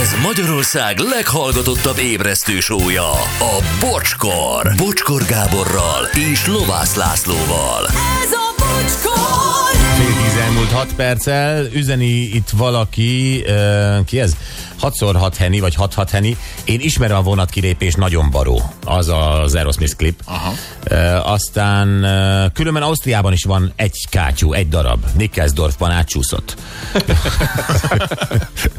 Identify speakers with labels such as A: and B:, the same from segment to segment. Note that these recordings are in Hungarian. A: Ez Magyarország leghallgatottabb ébresztő sója, a Bocskor. Bocskor Gáborral és Lovász Lászlóval.
B: Ez a bocskor!
C: Fél tíz elmúlt hat perccel üzeni itt valaki, ö, ki ez? 6x6 heni, vagy 6-6 heni. Én ismerem a vonat kilépés, nagyon baró. Az az Aerosmith klip. Ö, aztán ö, különben Ausztriában is van egy kátyú, egy darab. Nickelsdorfban átcsúszott.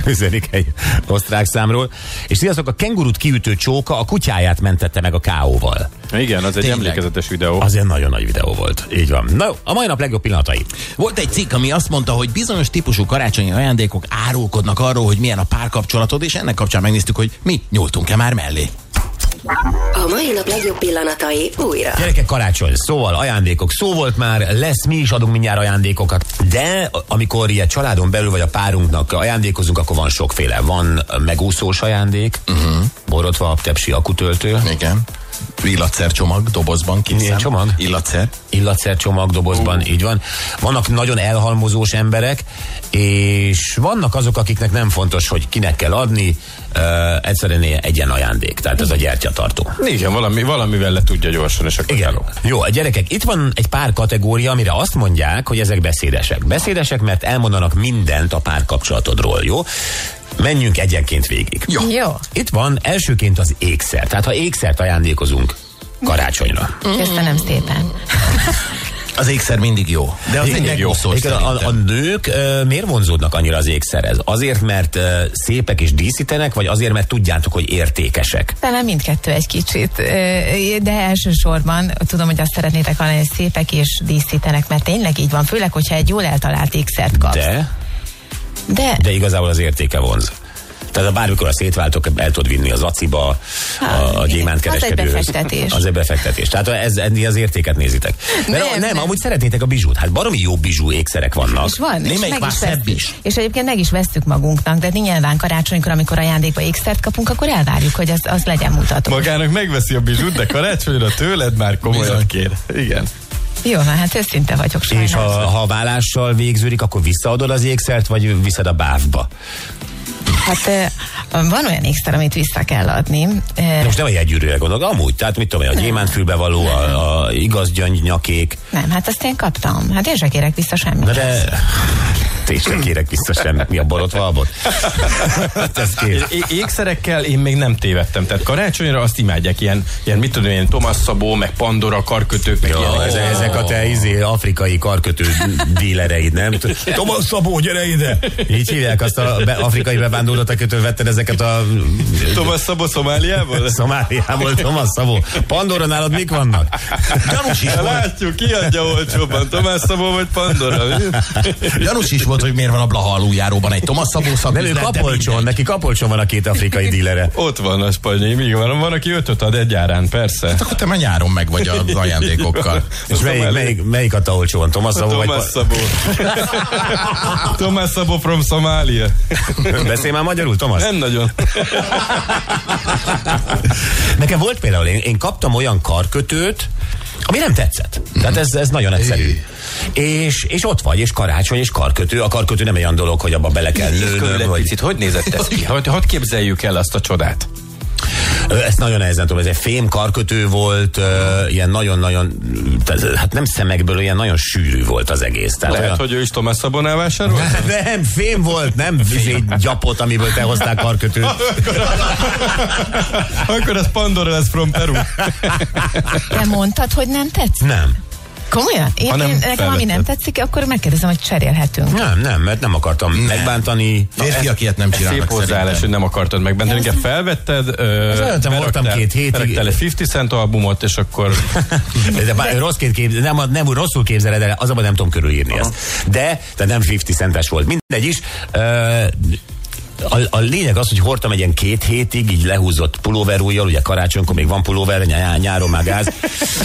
C: Üzenik egy osztrák számról. És sziasztok, a kengurut kiütő csóka a kutyáját mentette meg a K.O.-val.
D: Igen, az egy
E: Tényleg.
D: emlékezetes videó. Az...
C: Azért nagyon nagy videó volt. Így van. Na jó, a mai nap legjobb pillanatai.
E: Volt egy cikk, ami azt mondta, hogy bizonyos típusú karácsonyi ajándékok árulkodnak arról, hogy milyen a párkapcsolatod, és ennek kapcsán megnéztük, hogy mi nyúltunk-e már mellé.
F: A mai nap legjobb pillanatai újra.
C: Gyerekek karácsony, szóval ajándékok, szó volt már, lesz, mi is adunk mindjárt ajándékokat, de amikor ilyen családon belül vagy a párunknak ajándékozunk, akkor van sokféle. Van megúszós ajándék,
E: Mhm.
C: uh-huh. borotva, tepsi, akutöltő,
E: Igen. Illatszercsomag, dobozban készen.
C: Milyen csomag?
E: Illatszer.
C: illatszercsomag dobozban, uh. így van. Vannak nagyon elhalmozós emberek, és vannak azok, akiknek nem fontos, hogy kinek kell adni, uh, egyszerűen egyen ajándék, tehát ez a gyertyatartó.
D: Igen, valami, valamivel le tudja gyorsan, és akkor
C: Igen.
D: állok.
C: Jó, a gyerekek, itt van egy pár kategória, amire azt mondják, hogy ezek beszédesek. Beszédesek, mert elmondanak mindent a párkapcsolatodról, jó? Menjünk egyenként végig.
E: Jó.
G: Jó,
C: Itt van elsőként az ékszer. Tehát ha ékszert ajándékozunk karácsonyra.
G: köszönöm szépen.
E: Az ékszer mindig jó. De az egy
C: jó.
E: megúszó
C: Igen, a, a
E: szerintem.
C: nők ö, miért vonzódnak annyira az ékszerhez? Azért, mert ö, szépek és díszítenek, vagy azért, mert tudjátok, hogy értékesek?
G: Talán mindkettő egy kicsit, ö, de elsősorban tudom, hogy azt szeretnétek hallani, hogy szépek és díszítenek, mert tényleg így van, főleg, hogyha egy jól eltalált ékszert kapsz.
C: De,
G: de
C: de igazából az értéke vonz. Tehát ha bármikor a szétváltok, el tudod vinni az aciba, a, a
G: Hát, igen.
C: gyémántkereskedőhöz.
G: Az egy befektetés.
C: Az egy befektetés. Tehát ez, ennél az értéket nézitek. Mert nem,
G: Nem,
C: nem, nem,
G: nem.
C: amúgy szeretnétek a bizsút. Hát baromi jó bizsú ékszerek vannak.
G: és van, és
E: Némelyik
G: meg
E: már
G: is,
E: szebb
G: vesztük.
E: is.
G: és egyébként meg is vesztük magunknak, de nyilván karácsonykor, amikor ajándékba ékszert kapunk, akkor elvárjuk, hogy az, az legyen mutató.
D: Magának megveszi a bizsút, de karácsonyra tőled már komolyat kér. Igen.
G: Jó, na, hát őszinte vagyok sajnos.
C: És ha, ha a vállással végződik, akkor visszaadod az ékszert, vagy viszed a bávba.
G: Hát ö, van olyan ékszer, amit vissza kell adni. Ö,
C: De most nem a jegygyűrűre gondolok, amúgy. Tehát mit tudom én, a gyémántfülbe való, a, a igaz gyöngy nyakék.
G: Nem, hát azt én kaptam. Hát én se kérek vissza semmit.
C: Na de... Tényleg kérek vissza semmit, mi a borotva abot? Hát ez kész.
D: É- ékszerekkel én még nem tévedtem. Tehát karácsonyra azt imádják, ilyen, ilyen mit tudom, ilyen Tomás Szabó, meg Pandora, karkötők, meg
C: Ja,
D: ilyenek.
C: ezek, ezek a te izé, afrikai karkötő dílereid, nem? Tomasz Szabó, gyere ide! Így hívják azt a be, afrikai bevándorlót, akitől vetted ezeket a
D: Tomás Szabó Szomáliából?
C: Szomáliából, Tomasz Szabó. Pandora nálad mik vannak? Gyanús is
D: Hát Látjuk, kiadja olcsóban. Tomás Szabó vagy Pandora.
E: Gyanús is volt, hogy miért van a Blaha aluljáróban egy Tomasz Szabó szaküzlet,
C: Nem, ő
E: de
C: kapolcson, neki kapolcson van a két afrikai dílere.
D: Ott van a spanyol, még van, van, aki ötöt ad egy árán, persze.
E: Akkor te már nyáron meg vagy az ajándékokkal.
C: És melyik, melyik, melyik adta olcsóan? Tomasz Szabó vagy...
D: Tomás Szabó. Tomás Szabó from Szomália.
C: Beszél már magyarul, Tomasz?
D: Nem nagyon.
C: Nekem volt például, én, én kaptam olyan karkötőt, ami nem tetszett. Tehát ez, ez nagyon egyszerű. És, és ott vagy, és karácsony, és karkötő. A karkötő nem olyan dolog, hogy abba bele kell nőnöm, hogy...
D: hogy nézett ez ki? Hogy, hogy képzeljük el azt a csodát?
C: Ö, Ezt nagyon nehezen tudom, ez egy fém karkötő volt, ö, ilyen nagyon-nagyon, tehát, hát nem szemekből, ilyen nagyon sűrű volt az egész. Tehát
D: Lehet,
C: olyan, Hát
D: hogy ő is Tomás Szabonál vásárolt?
C: Nem, fém volt, nem izé, gyapot, amiből te hoztál karkötőt.
D: Akkor ez Pandora lesz from Peru.
G: Te mondtad, hogy nem tetsz?
C: Nem.
G: Komolyan? Én,
D: Ha nem
G: én, nekem ami nem
D: felvetted.
G: tetszik, akkor megkérdezem, hogy cserélhetünk.
C: Nem, nem, mert nem akartam nem. megbántani.
E: Férfiak ilyet nem
D: Szép
E: csinálnak
D: hozzáállás,
E: szerintem.
D: hogy nem akartad megbenteni. Igen, felvetted, ö,
C: előttem voltam
D: beraktál-
C: két hétig.
D: beraktál egy 50 Cent albumot, és akkor
C: De bár, rossz két kép, nem, nem, rosszul képzeled el, az abban nem tudom körülírni ezt. De, de nem 50 centes volt. Mindegy is. Ö, a, a, lényeg az, hogy hordtam egy ilyen két hétig, így lehúzott pulóverújjal, ugye karácsonykor még van pulóver, nyá, nyáron már gáz.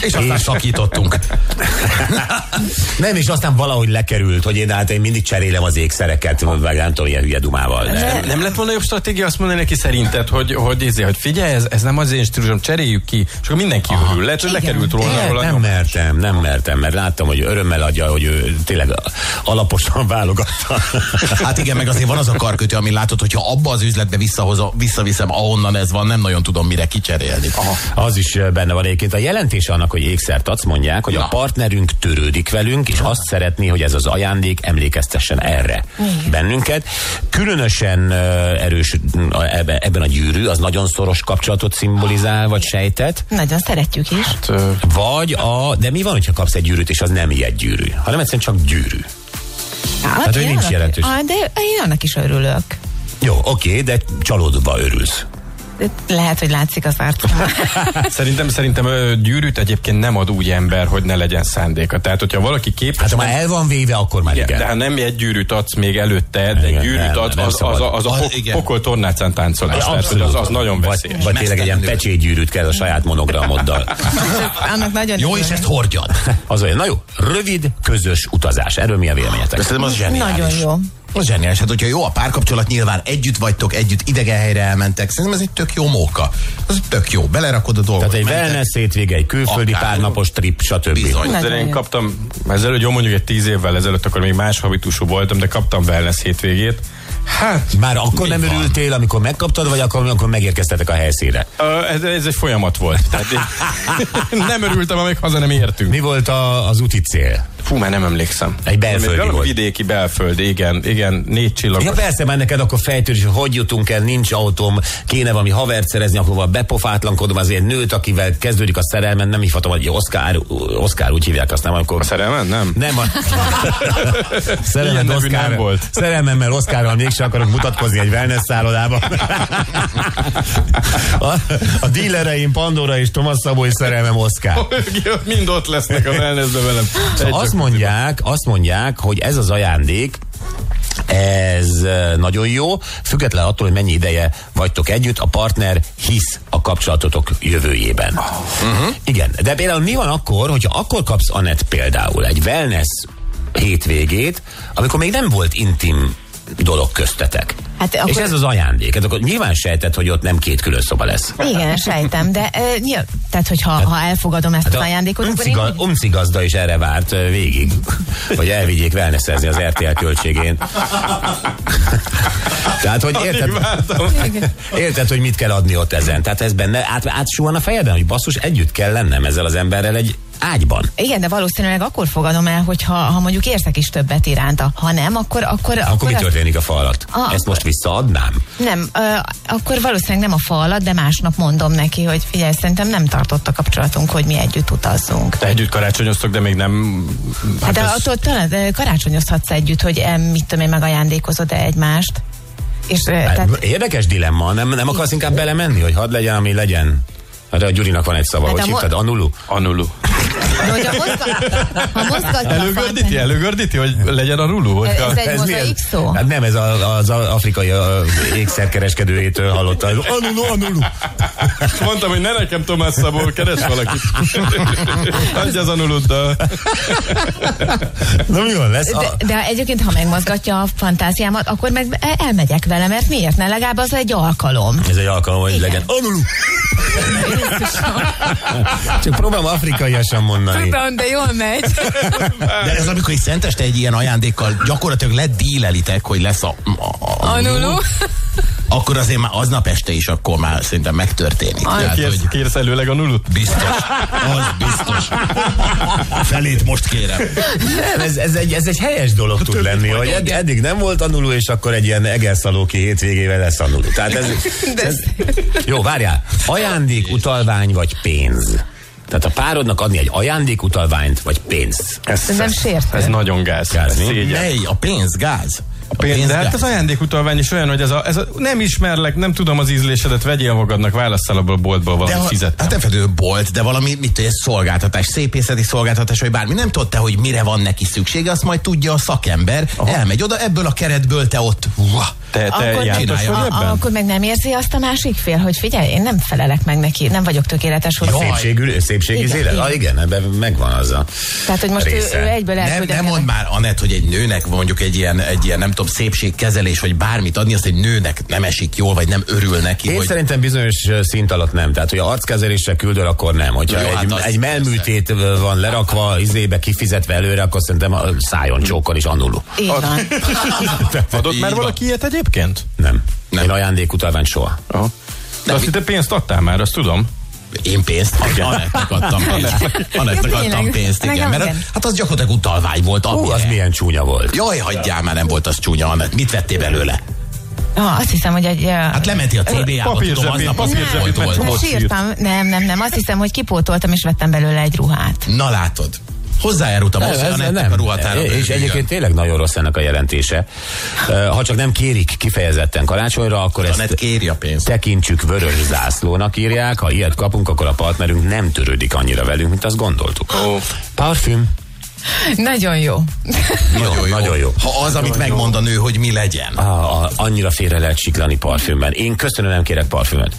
E: És aztán sakítottunk.
C: Nem, és aztán valahogy lekerült, hogy én, hát én mindig cserélem az ékszereket, meg nem tudom, ilyen hülye dumával.
D: Nem, nem lett volna jobb stratégia azt mondani neki szerinted, hogy, hogy, izé, hogy figyelj, ez, ez nem az én stílusom, cseréljük ki, és akkor mindenki örül. Lehet, hogy
G: Igen.
D: lekerült róla
C: Nem,
D: róla.
C: nem mertem, nem mertem, mert láttam, hogy örömmel adja, hogy ő tényleg alaposan válogatta.
E: Hát igen, meg azért van az a karkötő, ami látod, hogy hogyha abba az üzletbe visszahozom, visszaviszem, ahonnan ez van, nem nagyon tudom mire kicserélni. Aha.
C: Ah. Az is ö, benne van egyébként. A jelentése annak, hogy ékszert adsz, mondják, hogy Na.
E: Na.
C: a partnerünk törődik velünk, és azt szeretné, hogy ez az ajándék emlékeztessen erre bennünket. Különösen ö, erős mm, a- ebbe- ebben a gyűrű, az nagyon szoros kapcsolatot szimbolizál, vagy sejtet.
G: Nagyon szeretjük is.
C: Vagy a, de mi van, hogyha kapsz egy gyűrűt, és az nem ilyen gyűrű, hanem egyszerűen csak gyűrű.
G: Hát,
C: hogy
G: én
C: nincs
G: annak-
C: jelentős.
G: Ah, de én annak is örülök.
C: Jó, oké, de csalódva örülsz.
G: Lehet, hogy látszik az arcomon.
D: Szerintem, szerintem ö, gyűrűt egyébként nem ad úgy ember, hogy ne legyen szándéka. Tehát, hogyha valaki képes...
C: Hát ha
D: nem-
C: már el van véve, akkor már
D: Igen.
C: igen.
D: De ha nem egy gyűrűt adsz még előtte, de
C: Igen,
D: egy gyűrűt
C: nem,
D: adsz,
C: nem
D: az, az,
C: szabad.
D: az, az, a
E: Az-
D: pok-
E: igen.
D: pokol tornácán táncolás. Tehát, hogy az, az nagyon veszélyes.
C: Vagy, vagy tényleg egy ilyen pecsétgyűrűt kell a saját monogramoddal.
G: annak nagyon
E: Jó,
G: örülök.
E: és ezt hordjad.
C: Az olyan, na jó, rövid, közös utazás. Erről mi a véleményetek?
E: De szerintem az zseniális.
G: Nagyon jó.
E: Az zseniális. Hát, hogyha jó a párkapcsolat, nyilván együtt vagytok, együtt idegen helyre elmentek. Szerintem ez egy tök jó móka. Az tök jó. Belerakod a dolgot.
C: Tehát egy
E: mentek.
C: wellness hétvége, egy külföldi
E: Akár.
C: párnapos trip, stb.
E: Bizony.
G: Nagyon
D: De én
G: jó.
D: kaptam, ezelőtt, jó mondjuk egy tíz évvel ezelőtt, akkor még más habitusú voltam, de kaptam wellness hétvégét. Hát,
C: Már akkor
E: Mi
C: nem
E: van?
C: örültél, amikor megkaptad, vagy akkor, amikor megérkeztetek a helyszínre?
D: ö, ez, ez egy folyamat volt. Tehát én nem örültem, amíg haza nem értünk.
C: Mi volt a, az úti cél?
D: Fú, már nem emlékszem.
C: Egy belföldi
D: Valami- valami
C: volt.
D: Vidéki belföld, igen, igen, négy csillagos.
C: Ja persze, már neked akkor fejtőr, hogy hogy jutunk el, nincs autóm, kéne valami havert szerezni, akkor valami bepofátlankodom, azért nőt, akivel kezdődik a szerelmen, nem hívhatom, hogy Oszkár, Oszkár úgy hívják azt, nem? Amikor
D: A szerelmen, nem?
C: Nem a...
D: Ilyen
C: Szerelmem
D: nevű
C: Oszkár,
D: nem volt.
C: Szerelmemmel Oszkárral mégsem akarok mutatkozni egy wellness szállodában. A, a dílereim Pandora és Tomasz Szabó és szerelmem Oszkár.
D: Ők Mind ott lesznek a wellnessbe velem. Egy
C: Azt mondják, azt mondják, hogy ez az ajándék, ez eh, nagyon jó, független attól, hogy mennyi ideje vagytok együtt, a partner hisz a kapcsolatotok jövőjében. Uh-huh. Igen, de például mi van akkor, hogyha akkor kapsz Anett például egy wellness hétvégét, amikor még nem volt intim dolog köztetek.
G: Hát
C: És
G: akkor-
C: ez az ajándék. Hát akkor nyilván sejtett, hogy ott nem két külön szoba lesz.
G: Igen, sejtem, de e, nyilv, tehát, hogyha ha elfogadom
C: hát
G: ezt az ajándékot, akkor én
C: Umciga,
G: úgy-
C: umcigazda is erre várt ö, végig, hogy elvigyék wellnessezni az RTL költségén. Tehát, hogy érted, érted, hogy mit kell adni ott ezen. Tehát ez benne át, átsuhan a fejedben, hogy basszus, együtt kell lennem ezzel az emberrel egy ágyban.
G: igen, de valószínűleg akkor fogadom el, hogyha ha mondjuk érzek is többet iránta. Ha nem, akkor... Akkor,
C: Akkor mi
G: azt-
C: történik a fal alatt?
G: Ah,
C: Ezt most visszaadnám?
G: Nem, ö, akkor valószínűleg nem a fa alatt, de másnap mondom neki, hogy figyelj, szerintem nem tartott a kapcsolatunk, hogy mi együtt utazzunk.
D: Te együtt karácsonyoztok, de még nem...
G: Hát de
D: Hát ez-
G: attól talán ö, karácsonyozhatsz együtt, hogy em, mit tudom én, megajándékozod egymást. És, ö,
C: Hát-
G: tehát,
C: Érdekes dilemma, nem, nem akarsz inkább belemenni, hogy hadd legyen, ami legyen? Hát a Gyurinak van egy szava,
G: Hát
C: hogy
G: a mo-
C: hívtad, Anulu?
D: Anulu.
G: de hogyha mozgat, ha mozgatja a
D: Előgördíti,
G: fantázia-
D: előgördíti, hogy legyen a ruló?
G: Ez-
D: Hogyha-
G: ez egy
C: mi
G: mozaik szó?
C: Hát nem, ez a, az a- afrikai ö, ékszerkereskedőjétől hallotta. Anulu, anulu.
D: Mondtam, hogy ne nekem Tomás Szabó, keres valakit. Adj az anuluddal.
C: Na mi van, lesz? A,
G: De, de egyébként, ha megmozgatja a fantáziámat, akkor meg el- elmegyek vele, mert miért ne? Legalább az egy alkalom.
C: ez egy alkalom, hogy legyen. Anulu! Csak próbálom afrikaiasan mondani.
G: de jól megy.
E: De ez amikor egy szenteste egy ilyen ajándékkal gyakorlatilag ledílelitek, hogy lesz a, a, a
G: Anulu.
E: akkor azért már aznap este is akkor már szerintem megtörténik. Tehát,
D: Kérsz,
E: hogy
D: kérsz előleg anulut?
E: biztos. Az biztos. Felét most kérem.
C: Nem, ez, ez, egy, ez egy helyes dolog tud lenni, hogy ed, eddig nem volt anulu, és akkor egy ilyen egelszalóki hétvégével lesz anulu. Tehát ez, ez, jó, várjál. Ajándék, utalvány vagy pénz? Tehát a párodnak adni egy ajándék utalványt, vagy pénzt.
D: Ez,
G: nem sértő.
D: Ez nagyon gáz.
C: Gáz,
D: Ez
C: mi?
D: szégyen.
E: Mely? A pénz, gáz? A
D: Pénz, de hát
E: gáz?
D: az ajándékutalvány is olyan, hogy ez a, ez a, nem ismerlek, nem tudom az ízlésedet, vegyél magadnak, válasszál abból a boltból
E: de
D: valamit
E: ha,
D: fizet.
E: hát nem feltétlenül bolt, de valami, mit tudja, szolgáltatás, szépészeti szolgáltatás, vagy bármi. Nem tudta, hogy mire van neki szüksége, azt majd tudja a szakember. Aha. Elmegy oda, ebből a keretből te ott. Uha,
D: Te, te
G: Akkor
D: jártas
E: csinálja.
D: vagy
G: A,
D: ebben?
G: akkor meg nem érzi azt a másik fél, hogy figyelj, én nem felelek meg neki, nem vagyok tökéletes
C: A
G: hozzá.
C: szépségű, szépségi
G: Igen,
C: zélet?
G: igen.
C: Ah, igen, ebben megvan az a
G: Tehát, hogy most ő,
C: része.
G: ő egyből
E: nem,
G: elküldött.
E: nem mondd már, Anett, hogy egy nőnek mondjuk egy ilyen, egy ilyen, nem tudom, szépségkezelés, vagy bármit adni, azt egy nőnek nem esik jól, vagy nem örül neki,
C: Én
E: hogy
C: szerintem bizonyos ö, szint alatt nem. Tehát, hogy arckezelésre küldöl, akkor nem. Hogyha
E: Jó,
C: egy,
E: hát
C: hát
E: az-
C: egy melműtét ö, van lerakva, izébe kifizetve előre, akkor szerintem a szájon csókon is annuló.
G: Így van.
D: Hát, Adott már valaki ilyet egyébként?
C: Nem. Nem. Én ajándékutalványt soha.
D: Aha. De azt, hogy te pénzt adtál már, azt tudom.
E: Én pénzt? Anettnek adtam pénzt. Anettnek
G: Ja,
E: adtam
G: tényleg.
E: pénzt, igen.
G: Nekem
E: Mert
G: igen.
E: hát az gyakorlatilag utalvány volt.
C: Hú,
E: amire-
C: az milyen csúnya volt.
E: Jaj, hagyjál, már nem volt az csúnya, Anett. Mit vettél belőle?
G: Ah, azt hiszem, hogy egy...
E: Hát lementi a CBA-ba,
D: Papír
E: tudom,
D: zsebét,
E: aznap az
D: papír
E: nem
D: zsebét
E: volt
D: ment.
E: oltó.
D: Most
G: most sírtam. Nem, nem, nem. Azt hiszem, hogy kipótoltam, és vettem belőle egy ruhát.
E: Na látod. Hozzájárultam
C: Nem,
E: ahhoz, hogy
C: ez
E: Anettnek
C: nem.
E: a ruhatára.
C: És
E: bővüljön.
C: egyébként tényleg nagyon rossz ennek a jelentése. Ö, Ha csak nem kérik kifejezetten karácsonyra, akkor
E: Anett
C: ezt
E: kéri a pénzt.
C: tekintsük vörös zászlónak írják. Ha ilyet kapunk, akkor a partnerünk nem törődik annyira velünk, mint azt gondoltuk. Oh. Parfüm.
G: Nagyon jó.
E: Nagyon jó.
C: nagyon jó.
E: Ha az, amit megmond a nő, hogy mi legyen.
C: Ah, ah, annyira félre lehet siklani parfümben. Én köszönöm, nem kérek parfümöt.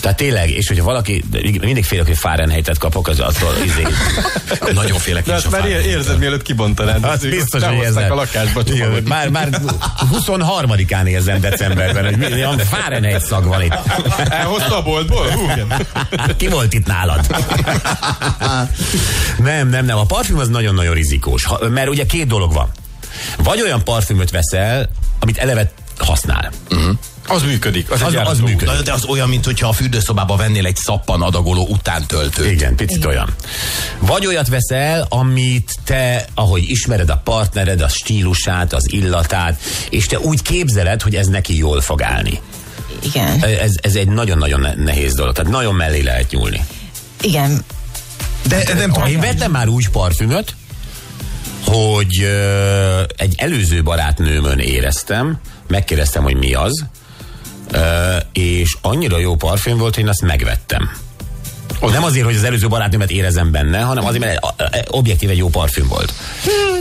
C: Tehát tényleg, és hogyha valaki, mindig félek, hogy Fahrenheitet kapok, az attól izé,
E: Nagyon félek
D: De
E: is
D: azt
E: a
D: már Hát ér-
E: fájdalomtól.
D: érzed, mielőtt kibontanád.
C: Az Hát biztos, hogy
D: érzed.
C: érzem.
D: a lakásba
C: Igen,
D: csomagot.
C: Már, már 23-án érzem decemberben, hogy mi- olyan Fahrenheit szag van itt.
D: Elhozta a boltból? Hú, igen.
C: Ki volt itt nálad? nem, nem, nem. A parfüm az nagyon-nagyon rizikós, ha, mert ugye két dolog van. Vagy olyan parfümöt veszel, amit eleve használ.
D: Az működik. Az,
C: Az,
D: egy
C: az
D: járható út.
C: működik.
E: Na, de az olyan, mint hogyha a fürdőszobába vennél egy szappan adagoló utántöltőt.
C: Igen, picit Igen. olyan. Vagy olyat veszel, amit te, ahogy ismered a partnered, a stílusát, az illatát, és te úgy képzeled, hogy ez neki jól fog állni.
G: Igen.
C: Ez, ez egy nagyon-nagyon ne- nehéz dolog, tehát nagyon mellé lehet nyúlni.
G: Igen.
E: De, de nem tudom,
C: Én vettem már úgy parfümöt, hogy ö, egy előző barátnőmön éreztem, megkérdeztem, hogy mi az, ö, és annyira jó parfüm volt, hogy én azt megvettem. Nem azért, hogy az előző barátnőmet érezem benne, hanem azért, mert ö, ö, objektíve jó parfüm volt.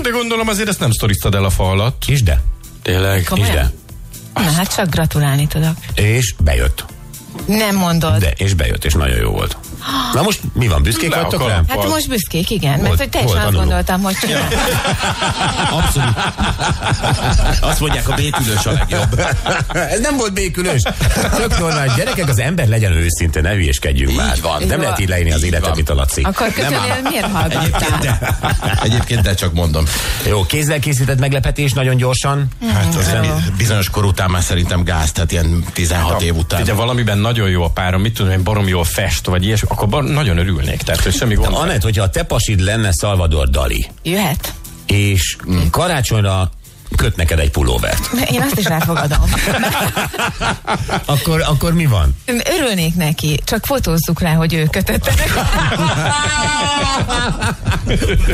D: De gondolom azért ezt nem sztoriztad el a fa alatt.
C: És de?
D: Tényleg.
C: És de?
G: Komolyan? Na, hát csak gratulálni tudok.
C: És bejött.
G: Nem mondod.
C: De, és bejött, és nagyon jó volt. Na most mi van, büszkék
D: Le a
C: vagytok
D: kalap.
C: rám?
G: Hát
D: Volt.
G: most büszkék, igen, mert
C: Volt,
G: hogy teljesen
C: volt,
G: azt
C: tanulunk.
G: gondoltam, hogy
E: abszolút. Azt mondják, a békülős a legjobb.
C: Ez nem volt békülős. Tök normális. Gyerekek, az ember legyen őszinte, ne hülyéskedjünk
E: Így
C: már.
E: van.
C: Nem
G: Jó.
C: lehet így leírni az
E: Így
C: életet
E: van.
C: itt a Laci.
G: akkor köszönöl, miért
E: Egyébként
G: hallgattál?
E: de. Egyébként de csak mondom.
C: Jó, kézzel készített meglepetés nagyon gyorsan.
E: Hát az bizonyos kor után már szerintem gáz, tehát ilyen 16 év után.
D: Ugye valamiben nagyon jó a párom, mit tudom én, barom jól fest, vagy ilyesmi, akkor bar- nagyon örülnék. Tehát, hogy semmi gond.
C: Anett, hogyha a te pasid lenne Salvador Dali,
G: Jöhet.
C: és karácsonyra köt neked egy pulóvert,
G: Én azt is elfogadom.
C: akkor, akkor mi van?
G: Örülnék neki, csak fotózzuk rá, hogy ő kötötte.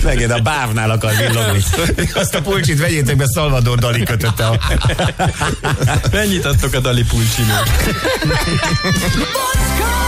C: Legyen a bávnál akar villogni. Azt a pulcsit vegyétek be, Salvador Dali kötötte a
D: Mennyit adtok a Dali pulcsinőt?
B: Bocskor!